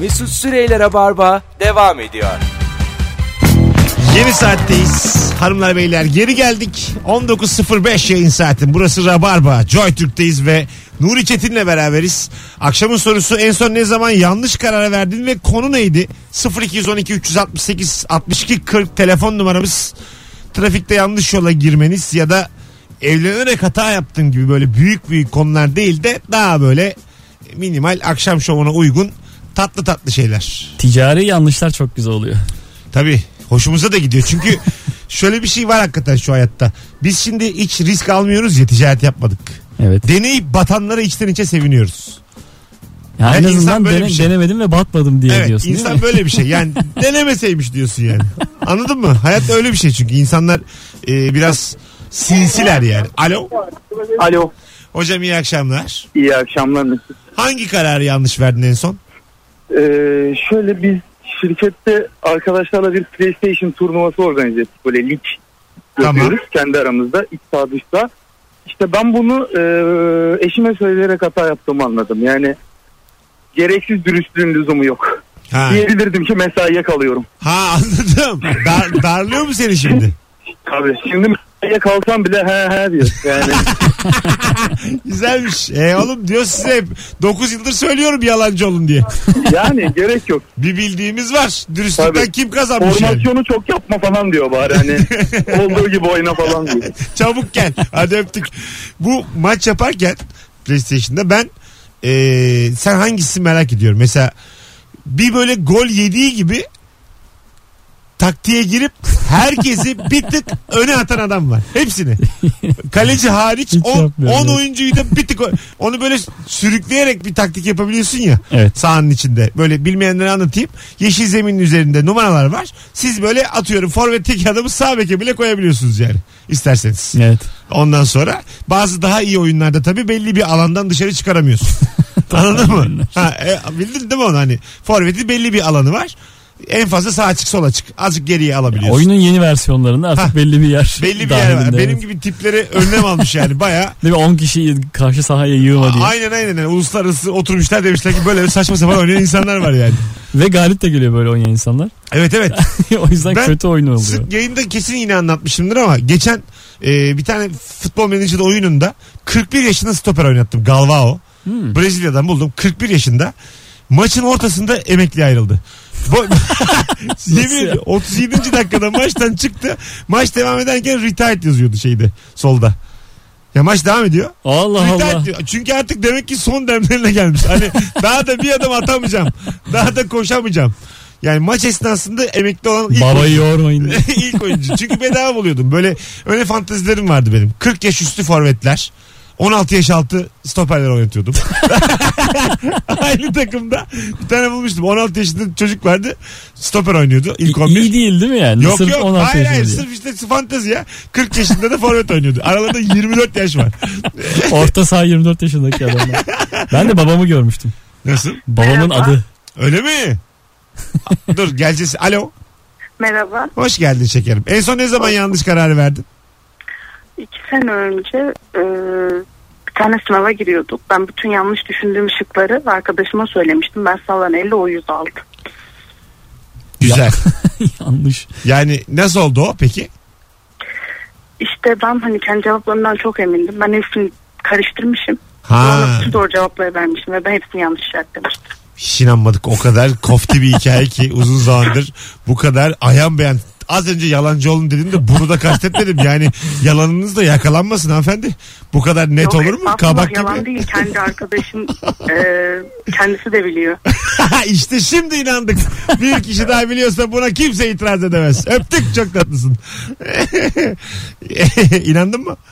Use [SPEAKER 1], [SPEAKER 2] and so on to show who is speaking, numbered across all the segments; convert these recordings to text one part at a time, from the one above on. [SPEAKER 1] Mesut Süreyler'e barba devam ediyor.
[SPEAKER 2] Yeni saatteyiz hanımlar beyler geri geldik 19.05 yayın saati burası Rabarba Joy Türk'teyiz ve Nuri Çetin'le beraberiz akşamın sorusu en son ne zaman yanlış karar verdin ve konu neydi 0212 368 62 40 telefon numaramız trafikte yanlış yola girmeniz ya da evlenerek hata yaptın gibi böyle büyük büyük konular değil de daha böyle minimal akşam şovuna uygun tatlı tatlı şeyler.
[SPEAKER 3] Ticari yanlışlar çok güzel oluyor.
[SPEAKER 2] Tabii. Hoşumuza da gidiyor. Çünkü şöyle bir şey var hakikaten şu hayatta. Biz şimdi hiç risk almıyoruz ya ticaret yapmadık.
[SPEAKER 3] Evet.
[SPEAKER 2] Deneyip batanlara içten içe seviniyoruz.
[SPEAKER 3] Yani en
[SPEAKER 2] Yani insan
[SPEAKER 3] azından
[SPEAKER 2] böyle
[SPEAKER 3] dene-
[SPEAKER 2] bir şey.
[SPEAKER 3] denemedim ve batmadım diye
[SPEAKER 2] evet
[SPEAKER 3] diyorsun değil
[SPEAKER 2] insan
[SPEAKER 3] mi?
[SPEAKER 2] böyle bir şey. Yani denemeseymiş diyorsun yani. Anladın mı? Hayat öyle bir şey çünkü. insanlar e, biraz sinsiler yani. Alo.
[SPEAKER 4] Alo.
[SPEAKER 2] Hocam iyi akşamlar.
[SPEAKER 4] iyi akşamlar Mesut.
[SPEAKER 2] Hangi kararı yanlış verdin en son?
[SPEAKER 4] Ee, şöyle biz şirkette arkadaşlarla bir PlayStation turnuvası organize ettik. Böyle lig
[SPEAKER 2] Tamam.
[SPEAKER 4] yapıyoruz kendi aramızda iç saha dış saha. İşte ben bunu e, eşime söyleyerek hata yaptığımı anladım. Yani gereksiz dürüstlüğün lüzumu yok.
[SPEAKER 2] Ha,
[SPEAKER 4] Diyebilirdim ki mesaiye kalıyorum.
[SPEAKER 2] ha anladım. Dar, darlıyor mu seni şimdi?
[SPEAKER 4] Tabii şimdi mesaiye kalsam bile he he diyor. Yani
[SPEAKER 2] Güzelmiş. E oğlum diyor size hep 9 yıldır söylüyorum yalancı olun diye.
[SPEAKER 4] yani gerek yok.
[SPEAKER 2] Bir bildiğimiz var. Dürüstlükten
[SPEAKER 4] Tabii.
[SPEAKER 2] kim kazanmış yani?
[SPEAKER 4] Formasyonu çok yapma falan diyor bari hani olduğu gibi oyna falan diyor.
[SPEAKER 2] Çabuk gel. Hadi öptük. Bu maç yaparken PlayStation'da ben e, sen hangisini merak ediyorum. Mesela bir böyle gol yediği gibi taktiğe girip herkesi bir tık öne atan adam var. Hepsini. Kaleci hariç
[SPEAKER 3] Hiç
[SPEAKER 2] 10
[SPEAKER 3] yapmıyorum evet.
[SPEAKER 2] oyuncuyu da bir tık o- onu böyle sürükleyerek bir taktik yapabiliyorsun ya.
[SPEAKER 3] Evet.
[SPEAKER 2] sahanın içinde. Böyle bilmeyenlere anlatayım. Yeşil zeminin üzerinde numaralar var. Siz böyle atıyorum forvetteki adamı sağ beke bile koyabiliyorsunuz yani. İsterseniz.
[SPEAKER 3] Evet.
[SPEAKER 2] Ondan sonra bazı daha iyi oyunlarda tabii belli bir alandan dışarı çıkaramıyorsun. Anladın mı? Ha, e, bildin değil mi onu hani? Forvetin belli bir alanı var. En fazla sağ açık sol açık. Azıcık geriye alabiliyorsun.
[SPEAKER 3] Oyunun yeni versiyonlarında artık
[SPEAKER 2] Ha.
[SPEAKER 3] belli bir yer.
[SPEAKER 2] Belli bir yer var.
[SPEAKER 3] dahilinde,
[SPEAKER 2] Benim
[SPEAKER 3] evet.
[SPEAKER 2] gibi tipleri önlem almış yani baya.
[SPEAKER 3] Değil mi? 10 kişiyi karşı sahaya yığma diye.
[SPEAKER 2] Aynen aynen. Yani uluslararası oturmuşlar demişler ki böyle saçma sapan oynayan insanlar var yani.
[SPEAKER 3] Ve galip de geliyor böyle oynayan insanlar.
[SPEAKER 2] Evet evet.
[SPEAKER 3] o yüzden
[SPEAKER 2] Ben
[SPEAKER 3] kötü oyun oluyor.
[SPEAKER 2] Sık yayında kesin yine anlatmışımdır ama geçen e, bir tane futbol menajer oyununda 41 yaşında stoper oynattım Galvao.
[SPEAKER 3] Hmm.
[SPEAKER 2] Brezilya'dan buldum 41 yaşında. Maçın ortasında emekli ayrıldı. Bo- Yemin
[SPEAKER 3] ya?
[SPEAKER 2] ediyorum, 37. dakikada maçtan çıktı. Maç devam ederken retired yazıyordu şeyde solda. Ya maç devam ediyor.
[SPEAKER 3] Allah
[SPEAKER 2] Retired
[SPEAKER 3] Allah.
[SPEAKER 2] diyor. Çünkü artık demek ki son demlerine gelmiş. Hani daha da bir adım atamayacağım. Daha da koşamayacağım. Yani maç esnasında emekli olan ilk
[SPEAKER 3] Babayı yormayın.
[SPEAKER 2] ilk oyuncu. Çünkü bedava buluyordum. Böyle öyle fantezilerim vardı benim. 40 yaş üstü forvetler. 16 yaş altı stoperler oynatıyordum. Aynı takımda bir tane bulmuştum. 16 yaşında çocuk vardı. Stoper oynuyordu ilk
[SPEAKER 3] İyi
[SPEAKER 2] 11.
[SPEAKER 3] iyi değil değil mi yani?
[SPEAKER 2] Yok
[SPEAKER 3] Sırf
[SPEAKER 2] yok
[SPEAKER 3] 16
[SPEAKER 2] hayır hayır
[SPEAKER 3] yaşında
[SPEAKER 2] sırf işte fantezi ya. 40 yaşında da forvet oynuyordu. Aralarında 24 yaş var.
[SPEAKER 3] diye. Orta saha 24 yaşındaki adamlar. ben de babamı görmüştüm.
[SPEAKER 2] Nasıl?
[SPEAKER 3] Babamın adı.
[SPEAKER 2] Öyle mi? Dur geleceğiz. Alo.
[SPEAKER 5] Merhaba.
[SPEAKER 2] Hoş geldin şekerim. En son ne zaman yanlış karar verdin?
[SPEAKER 5] İki sene önce e, bir tane sınava giriyorduk. Ben bütün yanlış düşündüğüm şıkları arkadaşıma söylemiştim. Ben sallan 50 o 100 aldım.
[SPEAKER 2] Güzel.
[SPEAKER 3] Yanlış.
[SPEAKER 2] Yani nasıl oldu o peki?
[SPEAKER 5] İşte ben hani kendi cevaplarımdan çok emindim. Ben hepsini karıştırmışım.
[SPEAKER 2] Ha.
[SPEAKER 5] Ona bütün doğru cevapları vermişim ve ben hepsini yanlış işaretlemiştim.
[SPEAKER 2] Hiç inanmadık. O kadar kofti bir hikaye ki uzun zamandır bu kadar ayan beyan. Az önce yalancı olun dedim de bunu da kastetmedim. Yani yalanınız da yakalanmasın hanımefendi. Bu kadar net
[SPEAKER 5] Yok,
[SPEAKER 2] olur mu?
[SPEAKER 5] estağfurullah,
[SPEAKER 2] E, Kabak gibi.
[SPEAKER 5] yalan değil. Kendi arkadaşım e, kendisi de biliyor.
[SPEAKER 2] işte şimdi inandık. Bir kişi daha biliyorsa buna kimse itiraz edemez. Öptük çok tatlısın. İnandın mı?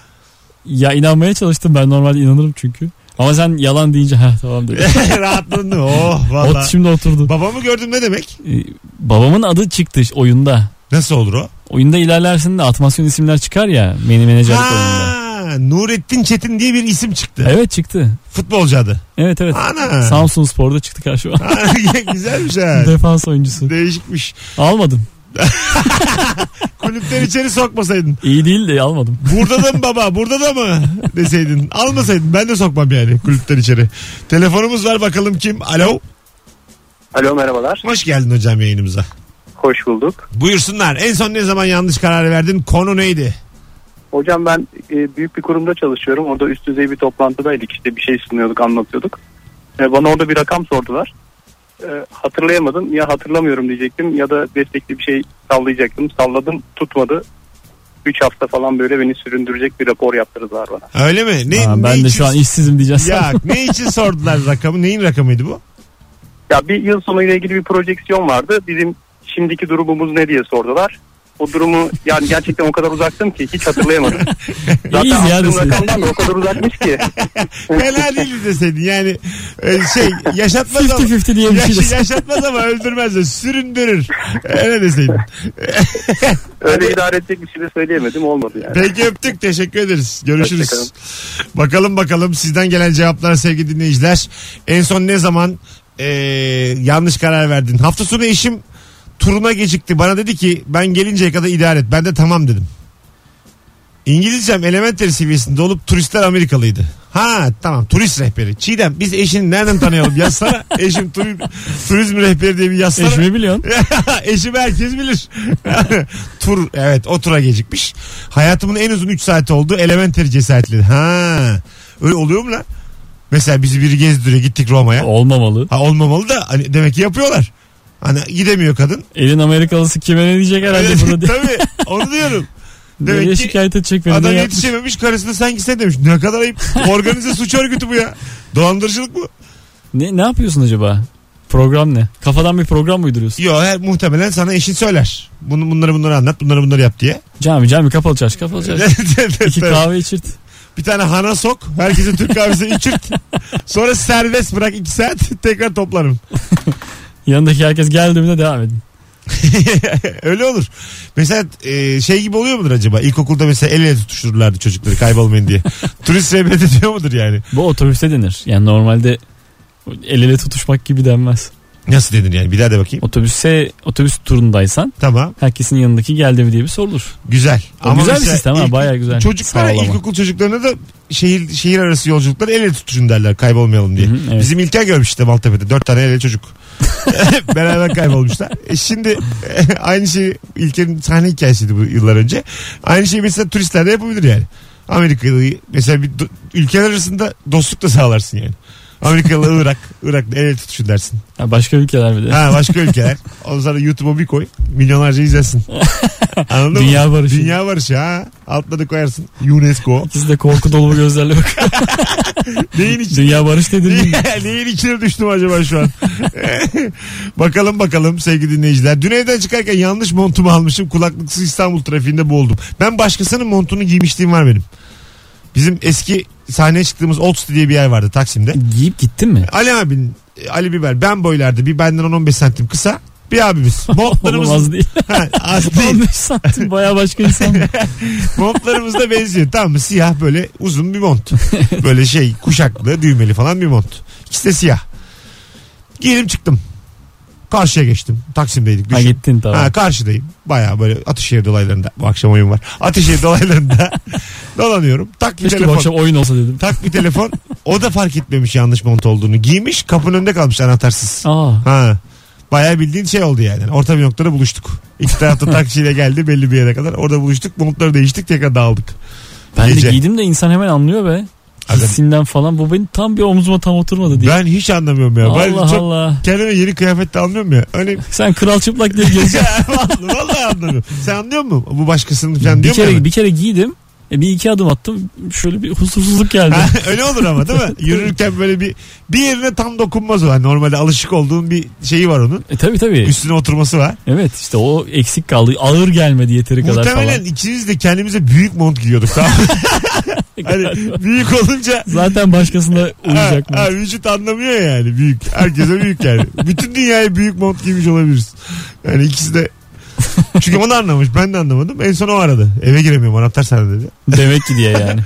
[SPEAKER 3] Ya inanmaya çalıştım ben normalde inanırım çünkü. Ama sen yalan deyince ha tamam dedim.
[SPEAKER 2] Rahatladın mı? Oh
[SPEAKER 3] Ot
[SPEAKER 2] valla.
[SPEAKER 3] şimdi oturdu.
[SPEAKER 2] Babamı gördüm ne demek?
[SPEAKER 3] Ee, babamın adı çıktı işte oyunda.
[SPEAKER 2] Nasıl olur o?
[SPEAKER 3] Oyunda ilerlersin de atmasyon isimler çıkar ya. Mini menajerlik oyununda.
[SPEAKER 2] Ha, Nurettin Çetin diye bir isim çıktı.
[SPEAKER 3] Evet çıktı.
[SPEAKER 2] Futbolcu adı.
[SPEAKER 3] Evet evet.
[SPEAKER 2] Ana.
[SPEAKER 3] Samsun Spor'da çıktı karşıma.
[SPEAKER 2] Güzelmiş ha.
[SPEAKER 3] Defans oyuncusu.
[SPEAKER 2] Değişikmiş.
[SPEAKER 3] Almadım.
[SPEAKER 2] Kulüpten içeri sokmasaydın.
[SPEAKER 3] İyi değil de almadım.
[SPEAKER 2] Burada da mı baba? Burada da mı? Deseydin. Almasaydın. Ben de sokmam yani kulüpten içeri. Telefonumuz var bakalım kim? Alo.
[SPEAKER 4] Alo merhabalar.
[SPEAKER 2] Hoş geldin hocam yayınımıza.
[SPEAKER 4] Hoş bulduk.
[SPEAKER 2] Buyursunlar. En son ne zaman yanlış karar verdin? Konu neydi?
[SPEAKER 4] Hocam ben e, büyük bir kurumda çalışıyorum. Orada üst düzey bir toplantıdaydık. İşte bir şey sunuyorduk, anlatıyorduk. E, bana orada bir rakam sordular. E, hatırlayamadım. Ya hatırlamıyorum diyecektim ya da destekli bir şey sallayacaktım. Salladım, tutmadı. 3 hafta falan böyle beni süründürecek bir rapor yaptırdılar bana.
[SPEAKER 2] Öyle mi? Ne,
[SPEAKER 3] Ha,
[SPEAKER 2] ne
[SPEAKER 3] ben de
[SPEAKER 2] için-
[SPEAKER 3] şu an işsizim diyeceğiz.
[SPEAKER 2] Ya ne için sordular rakamı? Neyin rakamıydı bu?
[SPEAKER 4] Ya bir yıl sonuyla ilgili bir projeksiyon vardı. Bizim şimdiki durumumuz ne diye sordular. O durumu yani gerçekten o kadar uzaktım ki hiç hatırlayamadım. Zaten
[SPEAKER 3] İyiyiz ya
[SPEAKER 4] aklım
[SPEAKER 3] deseydi.
[SPEAKER 4] rakamdan da o kadar uzakmış ki.
[SPEAKER 2] Fena değildi deseydin yani e, şey yaşatmaz ama
[SPEAKER 3] 50-50 diye bir şey
[SPEAKER 2] Yaş-
[SPEAKER 3] desin.
[SPEAKER 2] yaşatmaz ama öldürmez de süründürür. Öyle deseydin.
[SPEAKER 4] Öyle idare edecek bir şey de söyleyemedim olmadı yani.
[SPEAKER 2] Peki öptük teşekkür ederiz. Görüşürüz.
[SPEAKER 4] Hoşçakalın.
[SPEAKER 2] Bakalım bakalım sizden gelen cevaplara sevgili dinleyiciler. En son ne zaman e, yanlış karar verdin? Hafta sonu eşim turuna gecikti. Bana dedi ki ben gelinceye kadar idare et. Ben de tamam dedim. İngilizcem elementer seviyesinde olup turistler Amerikalıydı. Ha tamam turist rehberi. Çiğdem biz eşini nereden tanıyalım yazsana. Eşim turi- turizm rehberi diye bir yazsana.
[SPEAKER 3] Eşimi biliyorsun.
[SPEAKER 2] Eşim herkes bilir. Tur evet o tura gecikmiş. Hayatımın en uzun 3 saati oldu. Elementary cesaretli. Ha. Öyle oluyor mu lan? Mesela bizi biri gezdiriyor gittik Roma'ya.
[SPEAKER 3] Olmamalı.
[SPEAKER 2] Ha olmamalı da hani demek ki yapıyorlar. Hani gidemiyor kadın.
[SPEAKER 3] Elin Amerikalısı kime ne diyecek herhalde burada diye.
[SPEAKER 2] Tabii onu diyorum.
[SPEAKER 3] Nereye
[SPEAKER 2] Demek ki
[SPEAKER 3] şikayet edecek beni?
[SPEAKER 2] adam
[SPEAKER 3] ne yapmış?
[SPEAKER 2] yetişememiş karısına sen gitsene demiş. Ne kadar ayıp. Organize suç örgütü bu ya. Dolandırıcılık bu.
[SPEAKER 3] Ne, ne yapıyorsun acaba? Program ne? Kafadan bir program mı uyduruyorsun?
[SPEAKER 2] Yo her, muhtemelen sana eşin söyler. Bunu, bunları bunları anlat bunları bunları yap diye.
[SPEAKER 3] Cami cami kapalı çarşı kapalı çarşı. İki
[SPEAKER 2] Tabii.
[SPEAKER 3] kahve içirt.
[SPEAKER 2] Bir tane hana sok. Herkese Türk kahvesini içirt. Sonra serbest bırak iki saat. Tekrar toplarım.
[SPEAKER 3] Yanındaki herkes geldiğimde devam edin.
[SPEAKER 2] Öyle olur. Mesela e, şey gibi oluyor mudur acaba? İlkokulda mesela el ele tutuştururlardı çocukları kaybolmayın diye. Turist rehbet ediyor mudur yani?
[SPEAKER 3] Bu otobüste denir. Yani normalde el ele tutuşmak gibi denmez.
[SPEAKER 2] Nasıl denir yani? Bir daha de bakayım.
[SPEAKER 3] Otobüse otobüs turundaysan
[SPEAKER 2] Tamam.
[SPEAKER 3] herkesin yanındaki geldi mi diye bir sorulur.
[SPEAKER 2] Güzel.
[SPEAKER 3] O güzel bir
[SPEAKER 2] mesela
[SPEAKER 3] sistem ha,
[SPEAKER 2] ilk-
[SPEAKER 3] bayağı güzel.
[SPEAKER 2] Çocuklara
[SPEAKER 3] Sağlama.
[SPEAKER 2] ilkokul çocuklarına da şehir şehir arası yolculukları el ele tutuşun derler kaybolmayalım diye.
[SPEAKER 3] Hı hı, evet.
[SPEAKER 2] Bizim İlker görmüş işte Maltepe'de dört tane el ele çocuk. Beraber kaybolmuşlar. E şimdi aynı şeyi İlker'in sahne hikayesiydi bu yıllar önce. Aynı şeyi mesela turistler de yapabilir yani. Amerikalı mesela bir do- ülkeler arasında dostluk da sağlarsın yani. Amerikalı Irak, Irak'la el ele tutuşun dersin.
[SPEAKER 3] Ha, başka ülkeler bir de.
[SPEAKER 2] Ha başka ülkeler. Ondan sonra YouTube'a bir koy. Milyonlarca izlesin. Anladın mı?
[SPEAKER 3] Dünya barışı.
[SPEAKER 2] Dünya barışı ha. Altına da koyarsın. UNESCO.
[SPEAKER 3] İkisi de korku dolu bu gözlerle bak.
[SPEAKER 2] Neyin içine,
[SPEAKER 3] Dünya barış dedin.
[SPEAKER 2] neyin içine düştüm acaba şu an? bakalım bakalım sevgili dinleyiciler. Dün evden çıkarken yanlış montumu almışım. Kulaklıksız İstanbul trafiğinde boğuldum. Ben başkasının montunu giymişliğim var benim. Bizim eski sahneye çıktığımız Old City diye bir yer vardı Taksim'de.
[SPEAKER 3] Giyip gittin mi?
[SPEAKER 2] Ali abin Ali Biber ben boylarda bir benden 10-15 santim kısa bir abimiz. Montlarımız
[SPEAKER 3] Olmaz değil.
[SPEAKER 2] Ha, az değil.
[SPEAKER 3] 15 santim bayağı başka insan.
[SPEAKER 2] Montlarımız da benziyor. Tamam mı? Siyah böyle uzun bir mont. Böyle şey kuşaklı düğmeli falan bir mont. İkisi de siyah. Giyinip çıktım. Karşıya geçtim. Taksim'deydik.
[SPEAKER 3] ha
[SPEAKER 2] Düşün.
[SPEAKER 3] gittin tamam.
[SPEAKER 2] şey- Ha, karşıdayım. Baya böyle Atışehir dolaylarında. Bu akşam oyun var. Atışehir dolaylarında dolanıyorum. Tak bir
[SPEAKER 3] Keşke bu
[SPEAKER 2] telefon.
[SPEAKER 3] akşam oyun olsa dedim.
[SPEAKER 2] Tak bir telefon. O da fark etmemiş yanlış mont olduğunu. Giymiş kapının önünde kalmış anahtarsız.
[SPEAKER 3] Aa.
[SPEAKER 2] Ha. Bayağı bildiğin şey oldu yani. Orta bir noktada buluştuk. İki tarafta taksiyle geldi belli bir yere kadar. Orada buluştuk. Montları değiştik. Tekrar dağıldık.
[SPEAKER 3] Ben
[SPEAKER 2] Gece.
[SPEAKER 3] de giydim de insan hemen anlıyor be.
[SPEAKER 2] Aga-
[SPEAKER 3] Hissinden falan. Bu benim tam bir omzuma tam oturmadı diye.
[SPEAKER 2] Ben hiç anlamıyorum ya. ben
[SPEAKER 3] Allah
[SPEAKER 2] çok
[SPEAKER 3] Allah.
[SPEAKER 2] kendime yeni kıyafet de almıyorum ya. Öyle şey
[SPEAKER 3] Sen kral çıplak diye geziyorsun.
[SPEAKER 2] vallahi, vallahi anlamıyorum. Sen anlıyor musun? Bu başkasının falan
[SPEAKER 3] bir
[SPEAKER 2] diyor mu?
[SPEAKER 3] kere
[SPEAKER 2] yani?
[SPEAKER 3] bir kere giydim. E, bir iki adım attım. Şöyle bir huzursuzluk geldi.
[SPEAKER 2] Ha, öyle olur ama değil mi? Yürürken böyle bir bir yerine tam dokunmaz o. Yani normalde alışık olduğun bir şeyi var onun.
[SPEAKER 3] e tabi tabi.
[SPEAKER 2] Üstüne oturması var.
[SPEAKER 3] Evet işte o eksik kaldı. Ağır gelmedi yeteri kadar
[SPEAKER 2] Muhtemelen
[SPEAKER 3] falan.
[SPEAKER 2] ikimiz de kendimize büyük mont giyiyorduk. Tamam. mı? hani büyük olunca
[SPEAKER 3] Zaten başkasında
[SPEAKER 2] ha,
[SPEAKER 3] uyuyacak mı?
[SPEAKER 2] ha, vücut anlamıyor yani büyük. Herkese büyük yani. Bütün dünyaya büyük mont giymiş olabiliriz. Yani ikisi de çünkü onu anlamış. Ben de anlamadım. En son o aradı. Eve giremiyorum. Anahtar sende dedi.
[SPEAKER 3] Demek ki diye yani.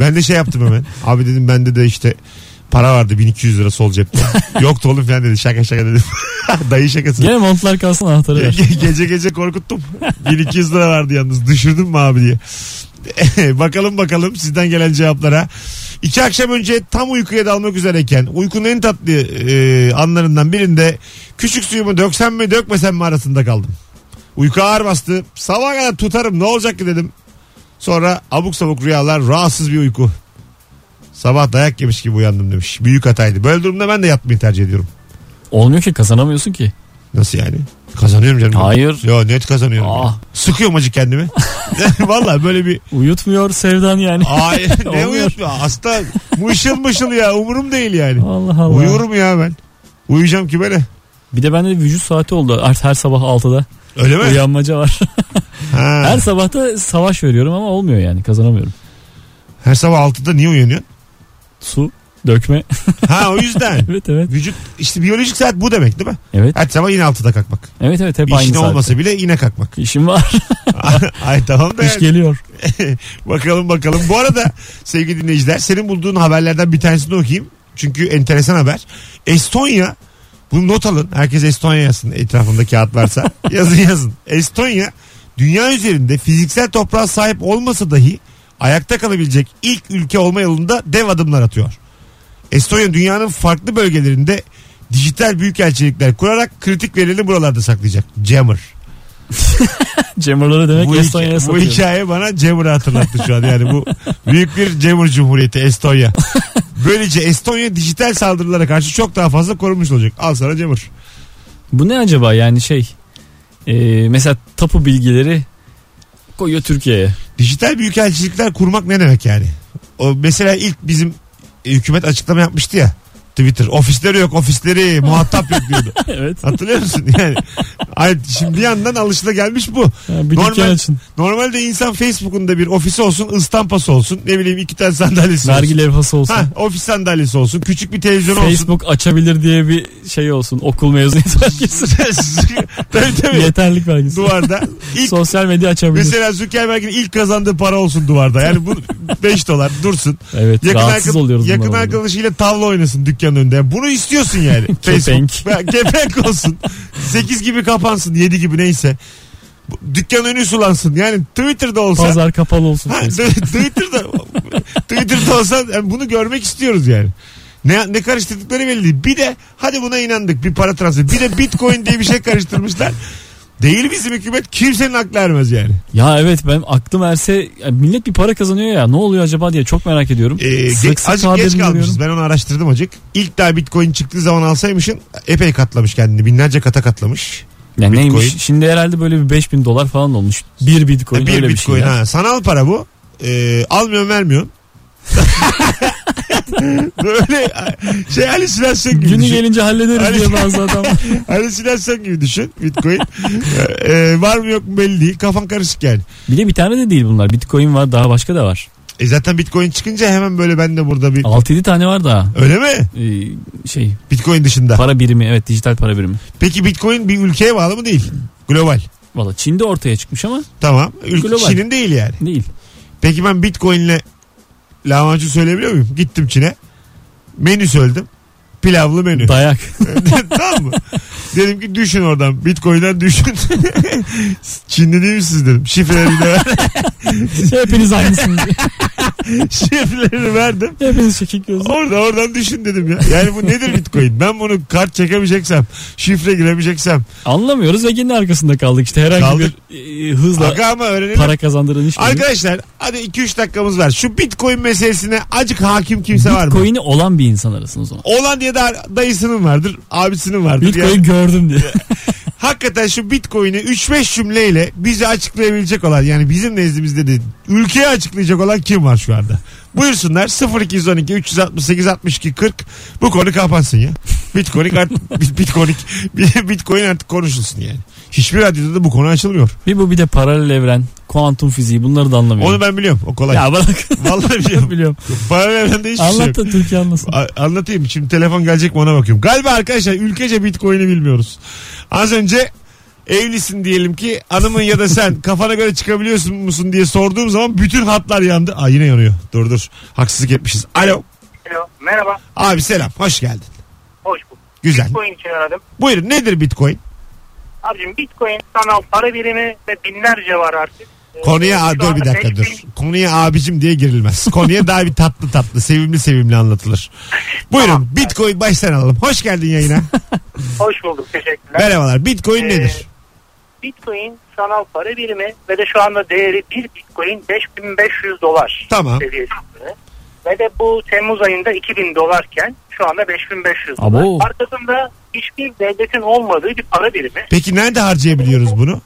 [SPEAKER 2] Ben de şey yaptım hemen. Abi dedim bende de işte para vardı 1200 lira sol cepte. Yoktu oğlum falan dedi. Şaka şaka dedim. Dayı şakası.
[SPEAKER 3] Gene montlar kalsın anahtarı ver.
[SPEAKER 2] Ge- gece gece korkuttum. 1200 lira vardı yalnız. Düşürdün mü abi diye. bakalım bakalım sizden gelen cevaplara. İki akşam önce tam uykuya dalmak üzereyken uykunun en tatlı e, anlarından birinde küçük suyumu döksem mi dökmesem mi arasında kaldım. Uyku ağır bastı. Sabah kadar tutarım ne olacak ki dedim. Sonra abuk sabuk rüyalar rahatsız bir uyku. Sabah dayak yemiş gibi uyandım demiş. Büyük hataydı. Böyle durumda ben de yatmayı tercih ediyorum.
[SPEAKER 3] Olmuyor ki kazanamıyorsun ki.
[SPEAKER 2] Nasıl yani? Kazanıyorum canım.
[SPEAKER 3] Hayır.
[SPEAKER 2] Yo net kazanıyorum.
[SPEAKER 3] Aa.
[SPEAKER 2] ya. Sıkıyorum acı kendimi. Valla böyle bir
[SPEAKER 3] Uyutmuyor sevdan yani.
[SPEAKER 2] Ay ne
[SPEAKER 3] Olmuyor.
[SPEAKER 2] uyutma. Hasta mışıl mışıl ya umurum değil yani.
[SPEAKER 3] Allah Allah.
[SPEAKER 2] Uyurum ya ben. Uyuyacağım ki böyle.
[SPEAKER 3] Bir de bende vücut saati oldu. Artık her sabah 6'da
[SPEAKER 2] Öyle mi?
[SPEAKER 3] uyanmaca var.
[SPEAKER 2] Ha.
[SPEAKER 3] her sabah da savaş veriyorum ama olmuyor yani kazanamıyorum.
[SPEAKER 2] Her sabah 6'da niye uyanıyorsun?
[SPEAKER 3] Su dökme.
[SPEAKER 2] Ha o yüzden.
[SPEAKER 3] evet evet.
[SPEAKER 2] Vücut işte biyolojik saat bu demek değil mi?
[SPEAKER 3] Evet
[SPEAKER 2] Her sabah yine 6'da kalkmak.
[SPEAKER 3] evet evet hep aynı
[SPEAKER 2] İşin
[SPEAKER 3] saatte.
[SPEAKER 2] olmasa bile yine kalkmak.
[SPEAKER 3] İşim var.
[SPEAKER 2] Ay tamam da
[SPEAKER 3] İş
[SPEAKER 2] yani.
[SPEAKER 3] geliyor.
[SPEAKER 2] bakalım bakalım. Bu arada sevgili dinleyiciler senin bulduğun haberlerden bir tanesini okuyayım. Çünkü enteresan haber. Estonya bunu not alın. Herkes Estonya yazsın etrafında kağıt varsa. yazın yazın. Estonya dünya üzerinde fiziksel toprağa sahip olmasa dahi ayakta kalabilecek ilk ülke olma yolunda dev adımlar atıyor. Estonya dünyanın farklı bölgelerinde dijital büyükelçilikler kurarak kritik verileri buralarda saklayacak. Jammer.
[SPEAKER 3] Cemurları demek
[SPEAKER 2] Bu,
[SPEAKER 3] Estonya'ya
[SPEAKER 2] hikaye, bu
[SPEAKER 3] satıyor.
[SPEAKER 2] hikaye bana Cemur'u hatırlattı şu an. Yani bu büyük bir Cemur Cumhuriyeti Estonya. Böylece Estonya dijital saldırılara karşı çok daha fazla korunmuş olacak. Al sana Cemur.
[SPEAKER 3] Bu ne acaba yani şey e, mesela tapu bilgileri koyuyor Türkiye'ye.
[SPEAKER 2] Dijital büyükelçilikler kurmak ne demek yani? O mesela ilk bizim e, hükümet açıklama yapmıştı ya. Twitter ofisleri yok ofisleri muhatap yok diyordu.
[SPEAKER 3] evet.
[SPEAKER 2] Hatırlıyor musun? Yani, ay, şimdi bir yandan alışılagelmiş bu.
[SPEAKER 3] Ha, bir
[SPEAKER 2] Normal-
[SPEAKER 3] dükkan açın.
[SPEAKER 2] Normalde insan Facebook'unda bir ofisi olsun ıstampası olsun ne bileyim iki tane sandalyesi olsun.
[SPEAKER 3] Vergi levhası olsun.
[SPEAKER 2] Ha, ofis sandalyesi olsun. Küçük bir televizyon olsun.
[SPEAKER 3] Facebook açabilir diye bir şey olsun. Okul mezuniyet belgesi.
[SPEAKER 2] tabii tabii.
[SPEAKER 3] Yeterlik belgesi.
[SPEAKER 2] duvarda. İlk,
[SPEAKER 3] Sosyal medya açabilir.
[SPEAKER 2] mesela Zuckerberg'in ilk kazandığı para olsun duvarda. Yani bu 5 dolar dursun.
[SPEAKER 3] evet
[SPEAKER 2] Yakın,
[SPEAKER 3] rahatsız
[SPEAKER 2] arkadaş-
[SPEAKER 3] oluyoruz.
[SPEAKER 2] yakın
[SPEAKER 3] bundan.
[SPEAKER 2] arkadaşıyla tavla oynasın dükkanın önünde. Yani bunu istiyorsun yani.
[SPEAKER 3] Kepenk.
[SPEAKER 2] Facebook. Kepenk olsun. 8 gibi kapansın. 7 gibi neyse. Bu- Dükkan önü sulansın. Yani Twitter'da olsa.
[SPEAKER 3] Pazar kapalı olsun.
[SPEAKER 2] Ha,
[SPEAKER 3] Facebook.
[SPEAKER 2] Twitter'da Twitter'da olsa yani bunu görmek istiyoruz yani. Ne, ne karıştırdıkları belli değil. Bir de hadi buna inandık bir para transferi. Bir de bitcoin diye bir şey karıştırmışlar. Değil bizim hükümet kimsenin aklı ermez yani.
[SPEAKER 3] Ya evet ben aklım erse ya millet bir para kazanıyor ya ne oluyor acaba diye çok merak ediyorum.
[SPEAKER 2] Ee, ge- azıcık
[SPEAKER 3] haberini
[SPEAKER 2] geç kalmışız.
[SPEAKER 3] görüyorum.
[SPEAKER 2] Ben onu araştırdım acık. İlk daha bitcoin çıktığı zaman alsaymışın epey katlamış kendini. Binlerce kata katlamış.
[SPEAKER 3] Ya
[SPEAKER 2] Bitcoin.
[SPEAKER 3] neymiş şimdi herhalde böyle bir 5000 dolar falan olmuş. Bir bitcoin
[SPEAKER 2] E, bir
[SPEAKER 3] öyle bir
[SPEAKER 2] bitcoin
[SPEAKER 3] şey. ya.
[SPEAKER 2] ha. Sanal para bu. Ee, almıyorum vermiyorum. Böyle şey halüsinasyon gibi.
[SPEAKER 3] Günü
[SPEAKER 2] düşün.
[SPEAKER 3] gelince hallederiz
[SPEAKER 2] Hani-
[SPEAKER 3] diye bazı adamlar.
[SPEAKER 2] Halüsinasyon gibi düşün Bitcoin. Ee, var mı yok mu belli değil. Kafan karışık yani.
[SPEAKER 3] Bir de bir tane de değil bunlar. Bitcoin var daha başka da var.
[SPEAKER 2] E zaten Bitcoin çıkınca hemen böyle ben de burada bir...
[SPEAKER 3] 6-7 tane var daha.
[SPEAKER 2] Öyle mi?
[SPEAKER 3] Ee, şey
[SPEAKER 2] Bitcoin dışında.
[SPEAKER 3] para birimi evet dijital para birimi.
[SPEAKER 2] Peki Bitcoin bir ülkeye bağlı mı değil? Global.
[SPEAKER 3] Valla Çin'de ortaya çıkmış ama
[SPEAKER 2] Tamam. Ül-
[SPEAKER 3] Global.
[SPEAKER 2] Çin'in değil yani.
[SPEAKER 3] değil.
[SPEAKER 2] Peki ben Bitcoin'le lahmacun söyleyebiliyor muyum? Gittim Çin'e. Menü söyledim. Pilavlı menü.
[SPEAKER 3] Dayak.
[SPEAKER 2] tamam mı? Dedim ki düşün oradan. Bitcoin'den düşün. Çinli değil misiniz dedim. Şifrelerini ver.
[SPEAKER 3] Hepiniz aynısınız.
[SPEAKER 2] Şifrelerini verdim.
[SPEAKER 3] Hepiniz çekik gözlü.
[SPEAKER 2] Orada oradan düşün dedim ya. Yani bu nedir bitcoin? Ben bunu kart çekemeyeceksem, şifre giremeyeceksem.
[SPEAKER 3] Anlamıyoruz ve yine arkasında kaldık işte herhangi
[SPEAKER 2] Kaldık.
[SPEAKER 3] bir e, hızla
[SPEAKER 2] Aga ama öğrenelim.
[SPEAKER 3] para şey kazandıran iş. görüyoruz.
[SPEAKER 2] Arkadaşlar hadi 2-3 dakikamız var. Şu bitcoin meselesine acık hakim kimse var mı?
[SPEAKER 3] Bitcoin'i olan bir insan arasın o zaman.
[SPEAKER 2] Olan diye de dayısının vardır, abisinin vardır.
[SPEAKER 3] Bitcoin
[SPEAKER 2] Yani
[SPEAKER 3] gördüm diye.
[SPEAKER 2] hakikaten şu bitcoin'i 3-5 cümleyle bize açıklayabilecek olan yani bizim nezdimizde de ülkeye açıklayacak olan kim var şu anda? Buyursunlar 0212 368 62 40 bu konu kapansın ya. Bitcoin artık Bitcoin Bitcoin artık konuşulsun yani. Hiçbir radyoda da bu konu açılmıyor.
[SPEAKER 3] bir bu bir de paralel evren, kuantum fiziği bunları da
[SPEAKER 2] Onu
[SPEAKER 3] anlamıyorum.
[SPEAKER 2] ben biliyorum. O kolay.
[SPEAKER 3] Ya bırak
[SPEAKER 2] Vallahi biliyorum.
[SPEAKER 3] biliyorum.
[SPEAKER 2] Paralel evrende hiçbir şey
[SPEAKER 3] Anlat
[SPEAKER 2] yok.
[SPEAKER 3] da Türkiye anlasın.
[SPEAKER 2] A- anlatayım. Şimdi telefon gelecek mi ona bakıyorum. Galiba arkadaşlar ülkece bitcoin'i bilmiyoruz. Az önce evlisin diyelim ki hanımın ya da sen kafana göre çıkabiliyorsun musun diye sorduğum zaman bütün hatlar yandı. Aa yine yanıyor. Dur dur. Haksızlık etmişiz. Alo.
[SPEAKER 6] Alo, merhaba.
[SPEAKER 2] Abi selam. Hoş geldin.
[SPEAKER 6] Hoş bulduk.
[SPEAKER 2] Güzel.
[SPEAKER 6] Bitcoin için aradım.
[SPEAKER 2] Buyurun nedir bitcoin?
[SPEAKER 6] Abicim Bitcoin sanal para birimi ve binlerce var artık. Ee,
[SPEAKER 2] Konuya
[SPEAKER 6] Şu
[SPEAKER 2] a- dur
[SPEAKER 6] anda
[SPEAKER 2] bir dakika
[SPEAKER 6] beş
[SPEAKER 2] dur.
[SPEAKER 6] bin-
[SPEAKER 2] Konuya abicim diye girilmez. Konuya daha bir tatlı tatlı, sevimli sevimli anlatılır. Buyurun Bitcoin baştan alalım. Hoş geldin yayına.
[SPEAKER 6] Hoş bulduk. Teşekkürler.
[SPEAKER 2] Merhabalar. Bitcoin
[SPEAKER 6] Ee,
[SPEAKER 2] nedir?
[SPEAKER 6] Bitcoin sanal para birimi ve de şu anda değeri bir Bitcoin 5500 dolar
[SPEAKER 2] Tamam.
[SPEAKER 6] seviyesinde. Ve de bu Temmuz ayında 2000 dolarken şu anda 5500 dolar.
[SPEAKER 3] Abo.
[SPEAKER 6] Arkasında hiçbir devletin olmadığı bir para birimi.
[SPEAKER 2] Peki nerede harcayabiliyoruz bunu?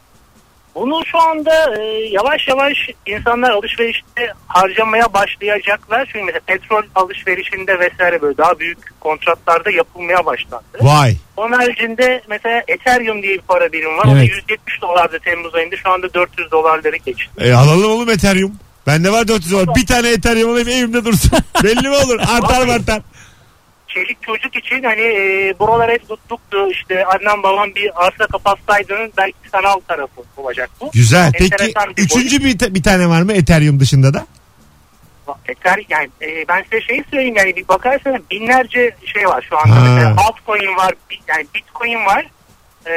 [SPEAKER 6] Bunu şu anda e, yavaş yavaş insanlar alışverişte harcamaya başlayacaklar. Çünkü mesela petrol alışverişinde vesaire böyle daha büyük kontratlarda yapılmaya başlandı.
[SPEAKER 2] Vay.
[SPEAKER 6] Onun haricinde mesela Ethereum diye bir para birimi var.
[SPEAKER 3] Evet.
[SPEAKER 6] O da 170 dolardı Temmuz ayında. Şu anda 400 dolarları geçti.
[SPEAKER 2] E, alalım oğlum Ethereum. Bende var 400 dolar. Bir tane Ethereum alayım evimde dursun. Belli mi olur? Artar mı artar.
[SPEAKER 6] Çelik çocuk için hani e, buralar hep tuttuktu. İşte annem babam bir arsa kapatsaydınız belki sanal tarafı olacak bu.
[SPEAKER 2] Güzel. Peki
[SPEAKER 6] Enteresan bir
[SPEAKER 2] üçüncü bir, ta- bir tane var mı Ethereum dışında da?
[SPEAKER 6] Ethereum yani e, ben size şey söyleyeyim yani bir bakarsanız binlerce şey var şu anda.
[SPEAKER 2] Ha.
[SPEAKER 6] Mesela altcoin var, bi- yani bitcoin var. E,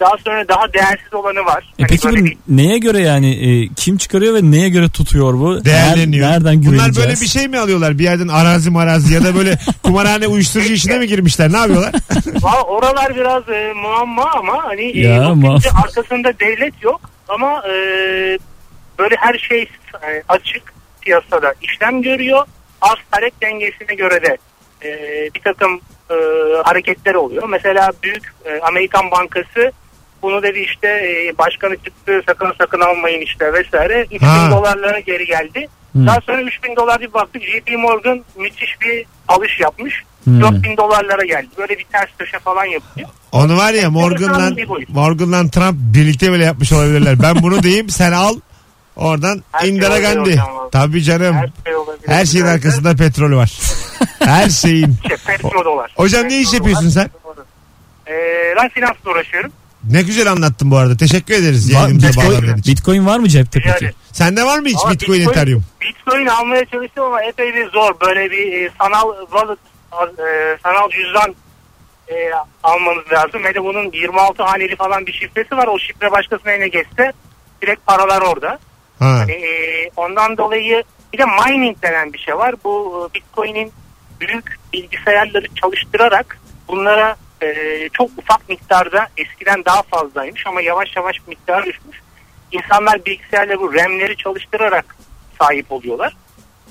[SPEAKER 6] daha sonra daha değersiz olanı var.
[SPEAKER 3] E
[SPEAKER 6] Hani
[SPEAKER 3] peki bu
[SPEAKER 6] böyle bir-
[SPEAKER 3] neye göre yani e, kim çıkarıyor ve neye göre tutuyor bu?
[SPEAKER 2] Değerleniyor.
[SPEAKER 3] Ner- Nereden
[SPEAKER 2] Bunlar
[SPEAKER 3] güveneceğiz?
[SPEAKER 2] böyle bir şey mi alıyorlar? Bir yerden arazi marazi ya da böyle kumarhane uyuşturucu işine mi girmişler? Ne yapıyorlar?
[SPEAKER 6] Valla oralar biraz e, muamma ama hani e,
[SPEAKER 3] Ya,
[SPEAKER 6] bakınca
[SPEAKER 3] muamma.
[SPEAKER 6] arkasında devlet yok ama e, böyle her şey e, açık piyasada işlem görüyor. Arz talep dengesine göre de e, bir takım e, hareketler oluyor. Mesela büyük e, Amerikan Bankası bunu dedi işte e, başkanı çıktı sakın sakın almayın işte vesaire. 3000
[SPEAKER 2] Ha.
[SPEAKER 6] dolarlara geri geldi.
[SPEAKER 3] Hmm.
[SPEAKER 6] Daha sonra 3000 dolar bir baktık JP Morgan müthiş bir alış yapmış.
[SPEAKER 3] Hmm.
[SPEAKER 6] 4000 dolarlara geldi. Böyle bir ters köşe falan yapıyor.
[SPEAKER 2] Onu var ya Morgan'la Morgan'la Trump birlikte bile yapmış olabilirler. Ben bunu diyeyim sen al. Oradan
[SPEAKER 6] Her şey
[SPEAKER 2] Indira
[SPEAKER 6] oluyor
[SPEAKER 2] Gandhi.
[SPEAKER 6] hocam vallahi.
[SPEAKER 2] Tabii canım.
[SPEAKER 6] Her şey olabilir.
[SPEAKER 2] Her şeyin
[SPEAKER 6] Biraz da
[SPEAKER 2] arkasında petrol var. Her şeyin.
[SPEAKER 6] Şey, petrol dolar.
[SPEAKER 2] Hocam ne iş
[SPEAKER 6] Petrol
[SPEAKER 2] yapıyorsun sen?
[SPEAKER 6] dolar. Ee, ben finansla uğraşıyorum.
[SPEAKER 2] Ne güzel anlattın bu arada. Teşekkür ederiz
[SPEAKER 3] Var-
[SPEAKER 2] yayınımıza bağlandığın
[SPEAKER 3] Bitcoin,
[SPEAKER 2] için.
[SPEAKER 3] Bitcoin var mı cepte
[SPEAKER 6] Rica
[SPEAKER 3] peki?
[SPEAKER 6] ederim.
[SPEAKER 2] Sende var mı hiç
[SPEAKER 6] Ama
[SPEAKER 2] Bitcoin, Ethereum?
[SPEAKER 6] Bitcoin almaya çalıştım ama epey bir zor. Böyle bir e, sanal wallet, az- e, sanal cüzdan e, almanız lazım. Ve de bunun 26 haneli falan bir şifresi var. O şifre başkasının eline geçse direkt paralar orada.
[SPEAKER 2] Ha.
[SPEAKER 6] Hani, e, ondan dolayı bir de mining denen bir şey var. Bu e, Bitcoin'in büyük bilgisayarları çalıştırarak bunlara e, çok ufak miktarda eskiden daha fazlaymış ama yavaş yavaş miktar düşmüş. İnsanlar bilgisayarla bu RAM'leri çalıştırarak sahip oluyorlar.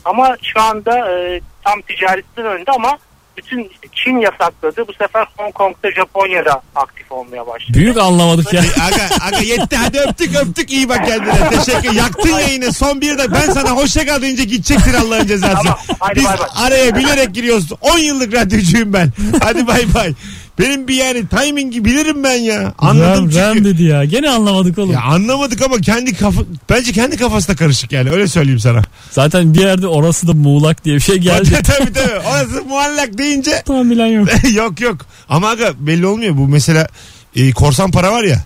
[SPEAKER 6] Ama şu anda e, tam ticaretin önünde ama bütün işte Çin yasakladı. Bu sefer Hong Kong'da Japonya'da aktif olmaya başladı.
[SPEAKER 3] Büyük anlamadık ya.
[SPEAKER 2] Aga, aga yetti hadi öptük öptük iyi bak kendine. Teşekkür. Yaktın yayını son bir dakika. Ben sana hoşça kal deyince gidecektir Allah'ın cezası.
[SPEAKER 6] Tamam, hadi
[SPEAKER 2] Biz
[SPEAKER 6] bay bay.
[SPEAKER 2] araya bilerek giriyoruz. 10 yıllık radyocuyum ben. Hadi bay bay. Benim bir yani timingi bilirim ben ya. Anladım
[SPEAKER 3] Ram, Ram
[SPEAKER 2] çünkü.
[SPEAKER 3] dedi ya. Gene anlamadık oğlum.
[SPEAKER 2] Ya anlamadık ama kendi kafa bence kendi kafası da karışık yani öyle söyleyeyim sana.
[SPEAKER 3] Zaten bir yerde orası da muğlak diye bir şey geldi.
[SPEAKER 2] tabii tabii. Orası muallak deyince
[SPEAKER 3] Tahmilen yok.
[SPEAKER 2] yok yok. Ama aga belli olmuyor bu mesela e, korsan para var ya.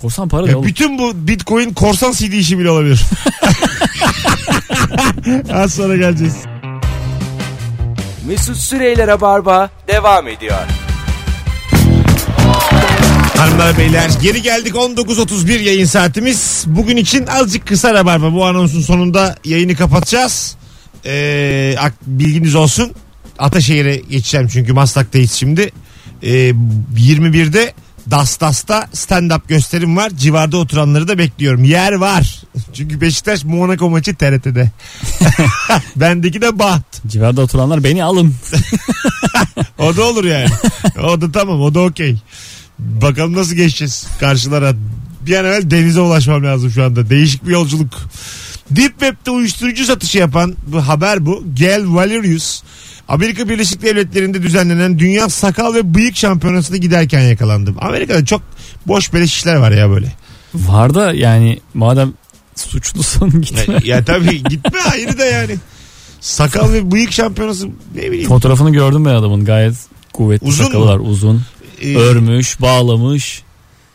[SPEAKER 3] Korsan para
[SPEAKER 2] Ya
[SPEAKER 3] ne oğlum?
[SPEAKER 2] bütün bu Bitcoin korsan CD işi bile olabilir. Az sonra geleceğiz.
[SPEAKER 1] Mesut Süreyler'e barba devam ediyor.
[SPEAKER 2] Hanımlar beyler geri geldik 19.31 yayın saatimiz. Bugün için azıcık kısa rabarba bu anonsun sonunda yayını kapatacağız. Ee, ak- bilginiz olsun. Ataşehir'e geçeceğim çünkü Maslak'tayız şimdi. Ee, 21'de Das Das'ta stand-up gösterim var. Civarda oturanları da bekliyorum. Yer var. Çünkü Beşiktaş Monaco maçı TRT'de. Bendeki de Baht.
[SPEAKER 3] Civarda oturanlar beni alın.
[SPEAKER 2] O da olur yani. O da tamam o da okey. Bakalım nasıl geçeceğiz karşılara. Bir an evvel denize ulaşmam lazım şu anda. Değişik bir yolculuk. Deep Web'de uyuşturucu satışı yapan bu haber bu. Gel Valerius Amerika Birleşik Devletleri'nde düzenlenen Dünya Sakal ve Bıyık Şampiyonası'na giderken yakalandım. Amerika'da çok boş beleş işler var ya böyle.
[SPEAKER 3] Var da yani madem suçlusun gitme.
[SPEAKER 2] ya tabii gitme ayrı da yani. Sakal ve bıyık şampiyonası ne bileyim.
[SPEAKER 3] Fotoğrafını gördüm ben adamın gayet kuvvetli
[SPEAKER 2] Uzun
[SPEAKER 3] sakalı var uzun.
[SPEAKER 2] e,
[SPEAKER 3] Örmüş, bağlamış,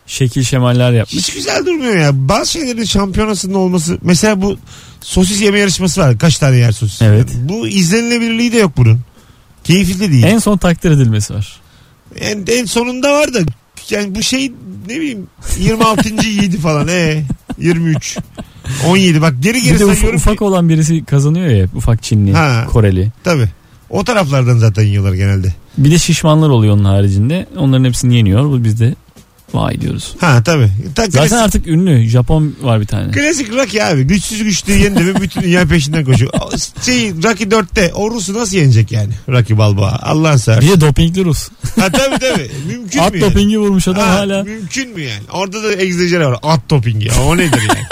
[SPEAKER 3] şekil şemaller yapmış.
[SPEAKER 2] Hiç güzel durmuyor ya. Bazı şeylerin şampiyonasının olması. Mesela bu sosis yeme yarışması var. Kaç tane yer sosis?
[SPEAKER 3] Evet.
[SPEAKER 2] Bu izlenilebilirliği de yok bunun. Keyifli de değil. En,
[SPEAKER 3] En son takdir edilmesi var.
[SPEAKER 2] en, sonunda var da yani bu şey ne bileyim 26. yedi falan. Ee, 23. 17 bak geri geri
[SPEAKER 3] Bir de uf-
[SPEAKER 2] sayıyorum.
[SPEAKER 3] ufak olan birisi kazanıyor ya ufak Çinli,
[SPEAKER 2] Ha.
[SPEAKER 3] Koreli.
[SPEAKER 2] Tabii. O taraflardan zaten yiyorlar genelde.
[SPEAKER 3] Bir de şişmanlar oluyor onun haricinde. Onların hepsini yeniyor. Bu biz de vay diyoruz.
[SPEAKER 2] Ha tabii. Ta,
[SPEAKER 3] Zaten
[SPEAKER 2] klasik,
[SPEAKER 3] artık ünlü Japon var bir tane.
[SPEAKER 2] klasik Rocky abi. Güçsüz güçlü yendi mi bütün dünya peşinden koşuyor. O- Şey, Rocky 4'te o Rus'u nasıl yenecek yani? Rocky Balboa. Allah'ın seversen.
[SPEAKER 3] Bir de dopingli Rus.
[SPEAKER 2] Ha tabii tabii. Mümkün
[SPEAKER 3] At
[SPEAKER 2] mü yani?
[SPEAKER 3] dopingi vurmuş adam
[SPEAKER 2] Ha,
[SPEAKER 3] hala.
[SPEAKER 2] Mümkün mü yani? Orada da egzajere var. At dopingi. O nedir yani?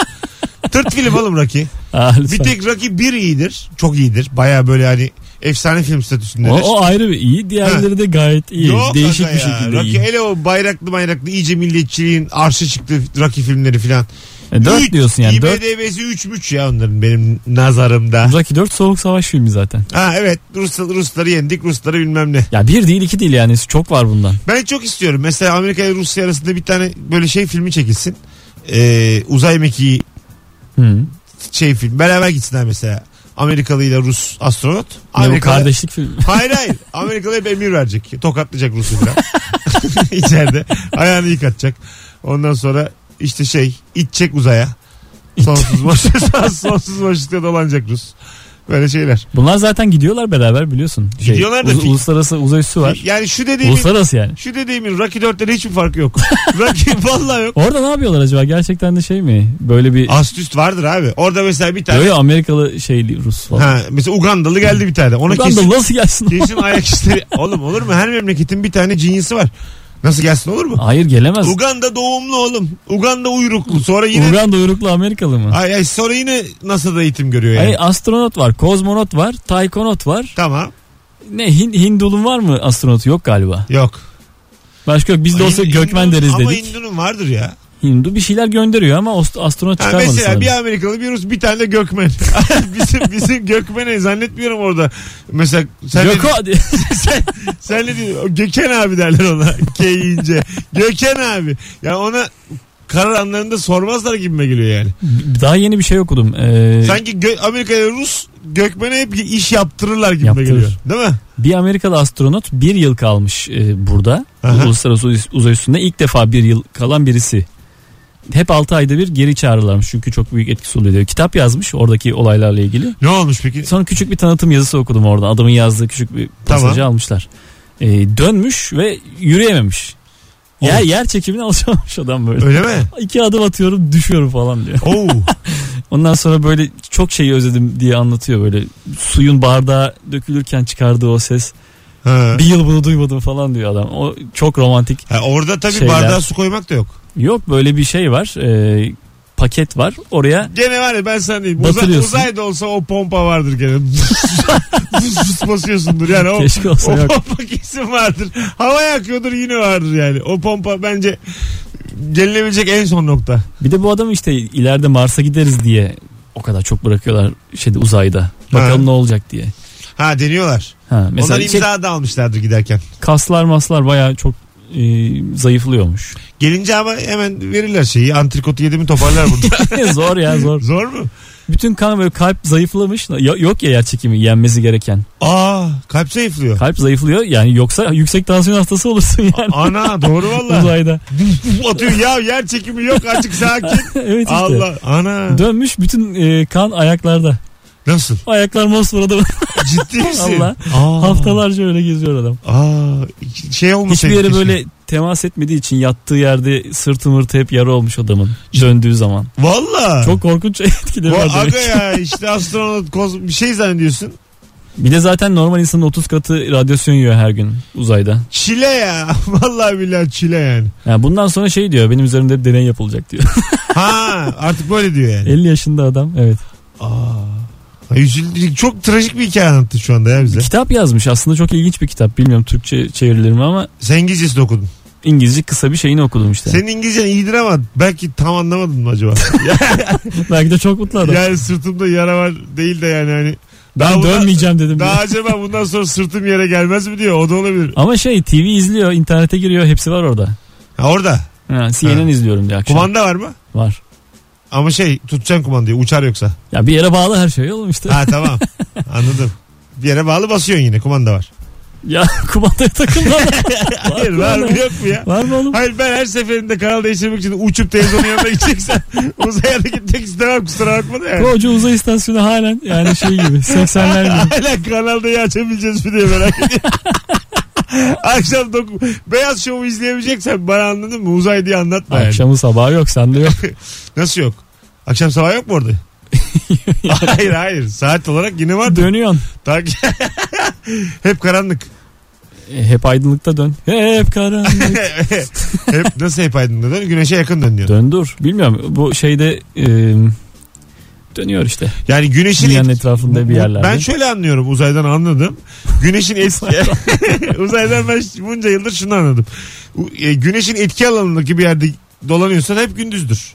[SPEAKER 2] Tırt film oğlum Rocky.
[SPEAKER 3] Ah,
[SPEAKER 2] Bir
[SPEAKER 3] lütfen.
[SPEAKER 2] tek Rocky 1 iyidir. Çok iyidir. Baya böyle hani efsane film statüsündedir.
[SPEAKER 3] o, o ayrı bir iyi. Diğerleri de gayet iyi.
[SPEAKER 2] Yok
[SPEAKER 3] Değişik
[SPEAKER 2] kanka
[SPEAKER 3] bir
[SPEAKER 2] ya.
[SPEAKER 3] şekilde
[SPEAKER 2] Rocky,
[SPEAKER 3] iyi.
[SPEAKER 2] Hele o bayraklı bayraklı iyice milliyetçiliğin arşı çıktı Rocky filmleri filan.
[SPEAKER 3] E, dört
[SPEAKER 2] Üç.
[SPEAKER 3] diyorsun yani. Dört.
[SPEAKER 2] IMDb'si 3.3 ya onların benim nazarımda.
[SPEAKER 3] Rocky 4 soğuk savaş filmi zaten.
[SPEAKER 2] Ha evet Rus, Rusları yendik Rusları bilmem ne.
[SPEAKER 3] Ya bir değil iki değil yani çok var bundan.
[SPEAKER 2] Ben çok istiyorum. Mesela Amerika ile Rusya arasında bir tane böyle şey filmi çekilsin. Ee, uzay mekiği
[SPEAKER 3] Hı.
[SPEAKER 2] şey film. Beraber gitsinler mesela. Amerikalı ile Rus astronot.
[SPEAKER 3] Ne bu
[SPEAKER 2] Amerikalı-
[SPEAKER 3] kardeşlik filmi.
[SPEAKER 2] Hayır hayır. Amerikalı hep emir verecek. Tokatlayacak Rus'u falan. İçeride. Ayağını yıkatacak. Ondan sonra işte şey itecek uzaya. Sonsuz boşlukta, sonsuz boşlukta dolanacak Rus. Böyle şeyler.
[SPEAKER 3] Bunlar zaten gidiyorlar beraber biliyorsun. Şey,
[SPEAKER 2] Gidiyorlar da
[SPEAKER 3] uz-
[SPEAKER 2] fi-
[SPEAKER 3] uluslararası uzay üssü var.
[SPEAKER 2] Yani şu dediğimin
[SPEAKER 3] Uluslararası yani.
[SPEAKER 2] şu dediğimin Rocky 4'ten hiçbir farkı yok. Rocky vallahi yok.
[SPEAKER 3] Orada ne yapıyorlar acaba? Gerçekten de şey mi? Böyle bir
[SPEAKER 2] Ast üst vardır abi. Orada mesela bir tane
[SPEAKER 3] böyle Amerikalı şeyli Rus falan.
[SPEAKER 2] ha, mesela Ugandalı geldi bir tane. Ona
[SPEAKER 3] Ulan
[SPEAKER 2] kesin,
[SPEAKER 3] da nasıl gelsin?
[SPEAKER 2] kesin ayak işleri. Oğlum olur mu? Her memleketin bir tane cinyisi var. Nasıl gelsin olur mu?
[SPEAKER 3] Hayır gelemez.
[SPEAKER 2] Uganda doğumlu oğlum. Uganda uyruklu. Sonra yine
[SPEAKER 3] Uganda uyruklu Amerikalı mı?
[SPEAKER 2] ay, ay sonra yine NASA'da eğitim görüyor yani.
[SPEAKER 3] Ay astronot var, kozmonot var, taykonot var.
[SPEAKER 2] Tamam.
[SPEAKER 3] Ne Hin- Hindulun var mı astronotu? Yok galiba.
[SPEAKER 2] Yok.
[SPEAKER 3] Başka yok. Biz de olsa
[SPEAKER 2] Hin-
[SPEAKER 3] gökmen
[SPEAKER 2] Hindunun-
[SPEAKER 3] deriz
[SPEAKER 2] ama
[SPEAKER 3] dedik.
[SPEAKER 2] Hindunun vardır ya.
[SPEAKER 3] Hindu bir şeyler gönderiyor ama ost- astronot
[SPEAKER 2] Ha,
[SPEAKER 3] çıkarmadı
[SPEAKER 2] mesela
[SPEAKER 3] sanırım.
[SPEAKER 2] bir Amerikalı bir Rus bir tane de Gökmen. bizim bizim Gökmen'i zannetmiyorum orada. Mesela sen
[SPEAKER 3] Yok
[SPEAKER 2] ne,
[SPEAKER 3] o-
[SPEAKER 2] sen, sen ne diyorsun? Göken abi derler ona. Keyince. Göken abi. Ya ona karar anlarında sormazlar gibime geliyor yani.
[SPEAKER 3] Daha yeni bir şey okudum. Ee,
[SPEAKER 2] Sanki gö- Amerika'ya Rus Gökmen'e hep iş yaptırırlar gibime
[SPEAKER 3] Yaptırır.
[SPEAKER 2] geliyor. Değil mi?
[SPEAKER 3] Bir Amerikalı astronot bir yıl kalmış e, burada.
[SPEAKER 2] Aha.
[SPEAKER 3] Uluslararası Uz- uzay üstünde ilk defa bir yıl kalan birisi. Hep 6 ayda bir geri çağrılarmış çünkü çok büyük etkisi oluyor diyor. Kitap yazmış oradaki olaylarla ilgili.
[SPEAKER 2] Ne olmuş peki?
[SPEAKER 3] Sonra küçük bir tanıtım yazısı okudum orada. Adamın yazdığı küçük bir pasajı
[SPEAKER 2] Tamam.
[SPEAKER 3] almışlar. E, dönmüş ve yürüyememiş. Yer,
[SPEAKER 2] Oy.
[SPEAKER 3] yer çekimine alışamamış adam böyle.
[SPEAKER 2] Öyle mi?
[SPEAKER 3] İki adım atıyorum düşüyorum falan diyor.
[SPEAKER 2] Oo.
[SPEAKER 3] Ondan sonra böyle çok şeyi özledim diye anlatıyor böyle. Suyun bardağa dökülürken çıkardığı o ses.
[SPEAKER 2] Ha.
[SPEAKER 3] Bir yıl bunu duymadım falan diyor adam. O çok romantik.
[SPEAKER 2] Ha, orada tabii
[SPEAKER 3] Şeyler.
[SPEAKER 2] bardağa su koymak da yok.
[SPEAKER 3] Yok böyle bir şey var. Ee, paket var. Oraya
[SPEAKER 2] Gene var ya ben sana diyeyim. Uza,
[SPEAKER 3] Batırıyorsun.
[SPEAKER 2] uzayda olsa o pompa vardır gene. Fıs fıs basıyorsundur yani. O,
[SPEAKER 3] keşke olsa
[SPEAKER 2] o
[SPEAKER 3] yok.
[SPEAKER 2] pompa kesin vardır. Hava yakıyordur yine vardır yani. O pompa bence gelinebilecek en son nokta.
[SPEAKER 3] Bir de bu adam işte ileride Mars'a gideriz diye o kadar çok bırakıyorlar şeyde uzayda. Bakalım
[SPEAKER 2] Ha.
[SPEAKER 3] ne olacak diye.
[SPEAKER 2] Ha deniyorlar.
[SPEAKER 3] Ha, mesela
[SPEAKER 2] Onlar
[SPEAKER 3] işte
[SPEAKER 2] imza da almışlardır giderken.
[SPEAKER 3] kaslar maslar bayağı çok e, zayıflıyormuş.
[SPEAKER 2] Gelince ama hemen verirler şeyi. Antrikotu yedi mi toparlar burada.
[SPEAKER 3] zor ya zor.
[SPEAKER 2] Zor mu?
[SPEAKER 3] Bütün kan böyle kalp zayıflamış. Ya- Yok ya yer çekimi yenmesi gereken.
[SPEAKER 2] Aa kalp zayıflıyor.
[SPEAKER 3] Kalp zayıflıyor yani yoksa yüksek tansiyon hastası olursun yani.
[SPEAKER 2] Ana doğru valla.
[SPEAKER 3] uzayda.
[SPEAKER 2] Atıyor ya yer çekimi yok açık sakin.
[SPEAKER 3] evet işte.
[SPEAKER 2] Allah ana.
[SPEAKER 3] Dönmüş bütün e, kan ayaklarda.
[SPEAKER 2] Nasıl?
[SPEAKER 3] Ayaklar mosmorada
[SPEAKER 2] Ciddi misin?
[SPEAKER 3] Allah.
[SPEAKER 2] Aa.
[SPEAKER 3] haftalarca öyle geziyor adam.
[SPEAKER 2] Aa, şey olmuş.
[SPEAKER 3] Hiçbir yere böyle temas etmediği için yattığı yerde sırtı mırtı hep yara olmuş adamın döndüğü zaman.
[SPEAKER 2] Valla.
[SPEAKER 3] Çok korkunç etkileri
[SPEAKER 2] Bu
[SPEAKER 3] var
[SPEAKER 2] aga
[SPEAKER 3] demek.
[SPEAKER 2] ya işte astronot koz bir şey zannediyorsun.
[SPEAKER 3] Bir de zaten normal insanın 30 katı radyasyon yiyor her gün uzayda.
[SPEAKER 2] Çile ya. Vallahi billahi çile yani.
[SPEAKER 3] Yani bundan sonra şey diyor benim üzerimde deney yapılacak diyor.
[SPEAKER 2] Ha artık böyle diyor yani.
[SPEAKER 3] 50 yaşında adam evet.
[SPEAKER 2] Aa. Ay, üzüldük. Çok trajik bir hikaye anlattı şu anda ya bize.
[SPEAKER 3] Kitap yazmış aslında çok ilginç bir kitap. Bilmiyorum Türkçe çevrilir mi ama
[SPEAKER 2] Sen İngilizcesini okudun.
[SPEAKER 3] İngilizce kısa bir şeyini okudum işte.
[SPEAKER 2] Senin İngilizcen iyidir ama belki tam anlamadın mı acaba?
[SPEAKER 3] Belki de çok mutlu adam.
[SPEAKER 2] yani sırtımda yara var değil de yani hani.
[SPEAKER 3] ben
[SPEAKER 2] bundan-
[SPEAKER 3] dönmeyeceğim dedim. diyor.
[SPEAKER 2] Daha acaba bundan sonra sırtım yere gelmez mi diyor. O da olabilir.
[SPEAKER 3] Ama şey TV izliyor, internete giriyor, hepsi var orada.
[SPEAKER 2] Ha, orada.
[SPEAKER 3] Ha, CNN
[SPEAKER 2] Ha.
[SPEAKER 3] izliyorum diye akşam.
[SPEAKER 2] Kumanda var mı?
[SPEAKER 3] Var.
[SPEAKER 2] Ama şey tutacaksın kumandayı uçar yoksa.
[SPEAKER 3] Ya bir yere bağlı her şey oğlum işte.
[SPEAKER 2] Ha tamam anladım. Bir yere bağlı basıyorsun yine kumanda var.
[SPEAKER 3] Ya kumandaya takılma.
[SPEAKER 2] Hayır var mı yok mu ya?
[SPEAKER 3] Var mı oğlum?
[SPEAKER 2] Hayır ben her seferinde kanal değiştirmek için uçup televizyonun yanına gideceksem uzaya da gitmek istemem kusura bakma da yani.
[SPEAKER 3] Koca uzay istasyonu halen yani şey gibi 80'ler gibi.
[SPEAKER 2] Hala kanalda açabileceğiz mi diye merak ediyorum. Akşam doku- Beyaz Şov'u izleyemeyeceksen bana anladın mı? Uzay diye anlatma yani.
[SPEAKER 3] Akşamı sabahı yok sende yok.
[SPEAKER 2] Nasıl yok? Akşam sabah yok mu orada? hayır hayır. Saat olarak yine var.
[SPEAKER 3] Dönüyorsun.
[SPEAKER 2] Tak- Hep karanlık.
[SPEAKER 3] E, hep aydınlıkta dön. Hep karanlık.
[SPEAKER 2] hep nasıl hep aydınlığa dön? Güneşe yakın dön diyor.
[SPEAKER 3] dön dur. Bilmiyorum bu şeyde e, dönüyor işte.
[SPEAKER 2] Yani güneşin
[SPEAKER 3] Dünyanın
[SPEAKER 2] etki-
[SPEAKER 3] etrafında bir
[SPEAKER 2] Bu-
[SPEAKER 3] yerlerde.
[SPEAKER 2] Ben şöyle anlıyorum uzaydan anladım. Güneşin etki uzaydan ben bunca yıldır şunu anladım. U- e, Güneşin etki alanındaki bir yerde dolanıyorsan hep gündüzdür.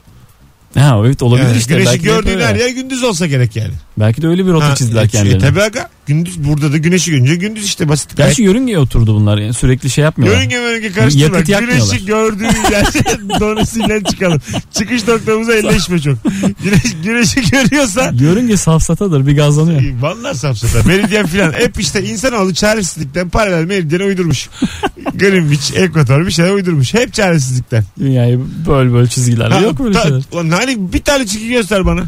[SPEAKER 3] Ha evet olabilir
[SPEAKER 2] Yani
[SPEAKER 3] işte.
[SPEAKER 2] güneşi
[SPEAKER 3] Belki de hep
[SPEAKER 2] gördüğün
[SPEAKER 3] öyle.
[SPEAKER 2] her yer gündüz olsa gerek yani.
[SPEAKER 3] Belki de öyle bir rota
[SPEAKER 2] Ha,
[SPEAKER 3] çizdiler
[SPEAKER 2] e,
[SPEAKER 3] kendilerine.
[SPEAKER 2] E, tabii aga. Gündüz burada da güneşi görünce gündüz işte basit. Gayet-
[SPEAKER 3] Gerçi yörüngeye oturdu bunlar yani sürekli şey yapmıyorlar.
[SPEAKER 2] Yörünge mörünge karıştırma.
[SPEAKER 3] Yakıt yakmıyorlar.
[SPEAKER 2] Güneşi gördüğün yerden donusuyla çıkalım. Çıkış noktamıza elleşme çok. Güneş, güneşi görüyorsan
[SPEAKER 3] Yörünge safsatadır bir gazlanıyor.
[SPEAKER 2] Vallahi sapsata. Meridyen filan. Hep işte insanoğlu çaresizlikten paralel meridyeni uydurmuş. Greenwich, ekvator bir şeyler uydurmuş. Hep çaresizlikten.
[SPEAKER 3] Dünyayı böl böl çizgilerle Hani yok böyle
[SPEAKER 2] Ta-
[SPEAKER 3] şeyler.
[SPEAKER 2] Ulan hani bir tane çizgi göster bana.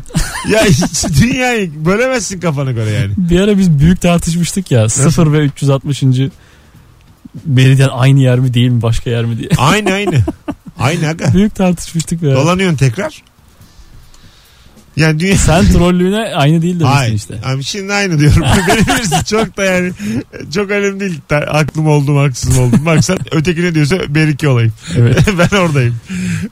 [SPEAKER 2] ya hiç dünyayı bölemezsin kafana göre yani.
[SPEAKER 3] Bir ara biz büyük tartışmıştık ya 0 ve 360. Meridyen aynı yer mi değil mi başka yer mi diye.
[SPEAKER 2] Aynı aynı. Aynı aga.
[SPEAKER 3] büyük tartışmıştık ya.
[SPEAKER 2] Dolanıyorsun tekrar. Yani dünya...
[SPEAKER 3] Sen trollüğüne aynı değil demiştin
[SPEAKER 2] Ay,
[SPEAKER 3] işte.
[SPEAKER 2] Abi şimdi aynı diyorum. Beni bilirsin çok da yani çok önemli değil. Ta- aklım oldu mu haksız mı oldum. Maksat ötekine diyorsa ben iki olayım.
[SPEAKER 3] Evet.
[SPEAKER 2] ben oradayım.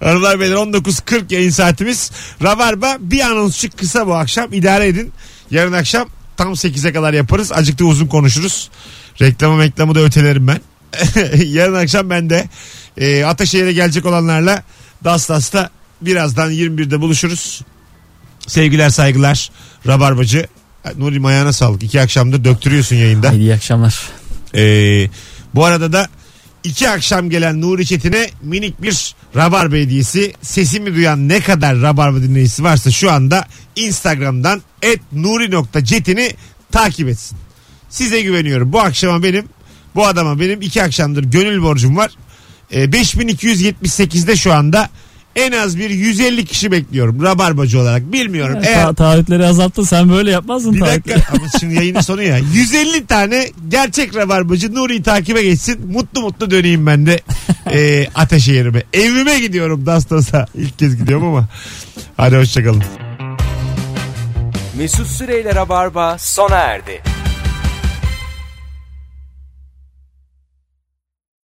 [SPEAKER 2] Arılar Beyler 19.40 yayın saatimiz. Rabarba bir anonsçuk kısa bu akşam. İdare edin. Yarın akşam tam 8'e kadar yaparız. Acık da uzun konuşuruz. Reklamı reklamı da ötelerim ben. Yarın akşam ben de e, Ataşehir'e gelecek olanlarla Dastas'ta birazdan 21'de buluşuruz. Sevgiler saygılar Rabarbacı. Nuri ayağına sağlık. İki akşamdır döktürüyorsun yayında.
[SPEAKER 3] Haydi iyi akşamlar.
[SPEAKER 2] Ee, bu arada da iki akşam gelen Nuri Çetin'e minik bir Rabarba hediyesi. Sesimi duyan ne kadar Rabarba dinleyicisi varsa şu anda Instagram'dan et nuri.cetini takip etsin. Size güveniyorum. Bu akşama benim, bu adama benim iki akşamdır gönül borcum var. Ee, 5278'de şu anda en az bir 150 kişi bekliyorum Rabarbacı olarak. Bilmiyorum. Eğer
[SPEAKER 3] Ta- taahhütleri azalttın sen böyle yapmazdın
[SPEAKER 2] bir
[SPEAKER 3] taahhütleri.
[SPEAKER 2] dakika ama şimdi yayının sonu ya. 150 tane gerçek rabarbacı Nuri'yi takibe geçsin. Mutlu mutlu döneyim ben de e, Ateşehir'ime. Evime gidiyorum Dastas'a. İlk kez gidiyorum ama. Hadi hoşçakalın.
[SPEAKER 1] Mesut Süreyler'e barba sona erdi.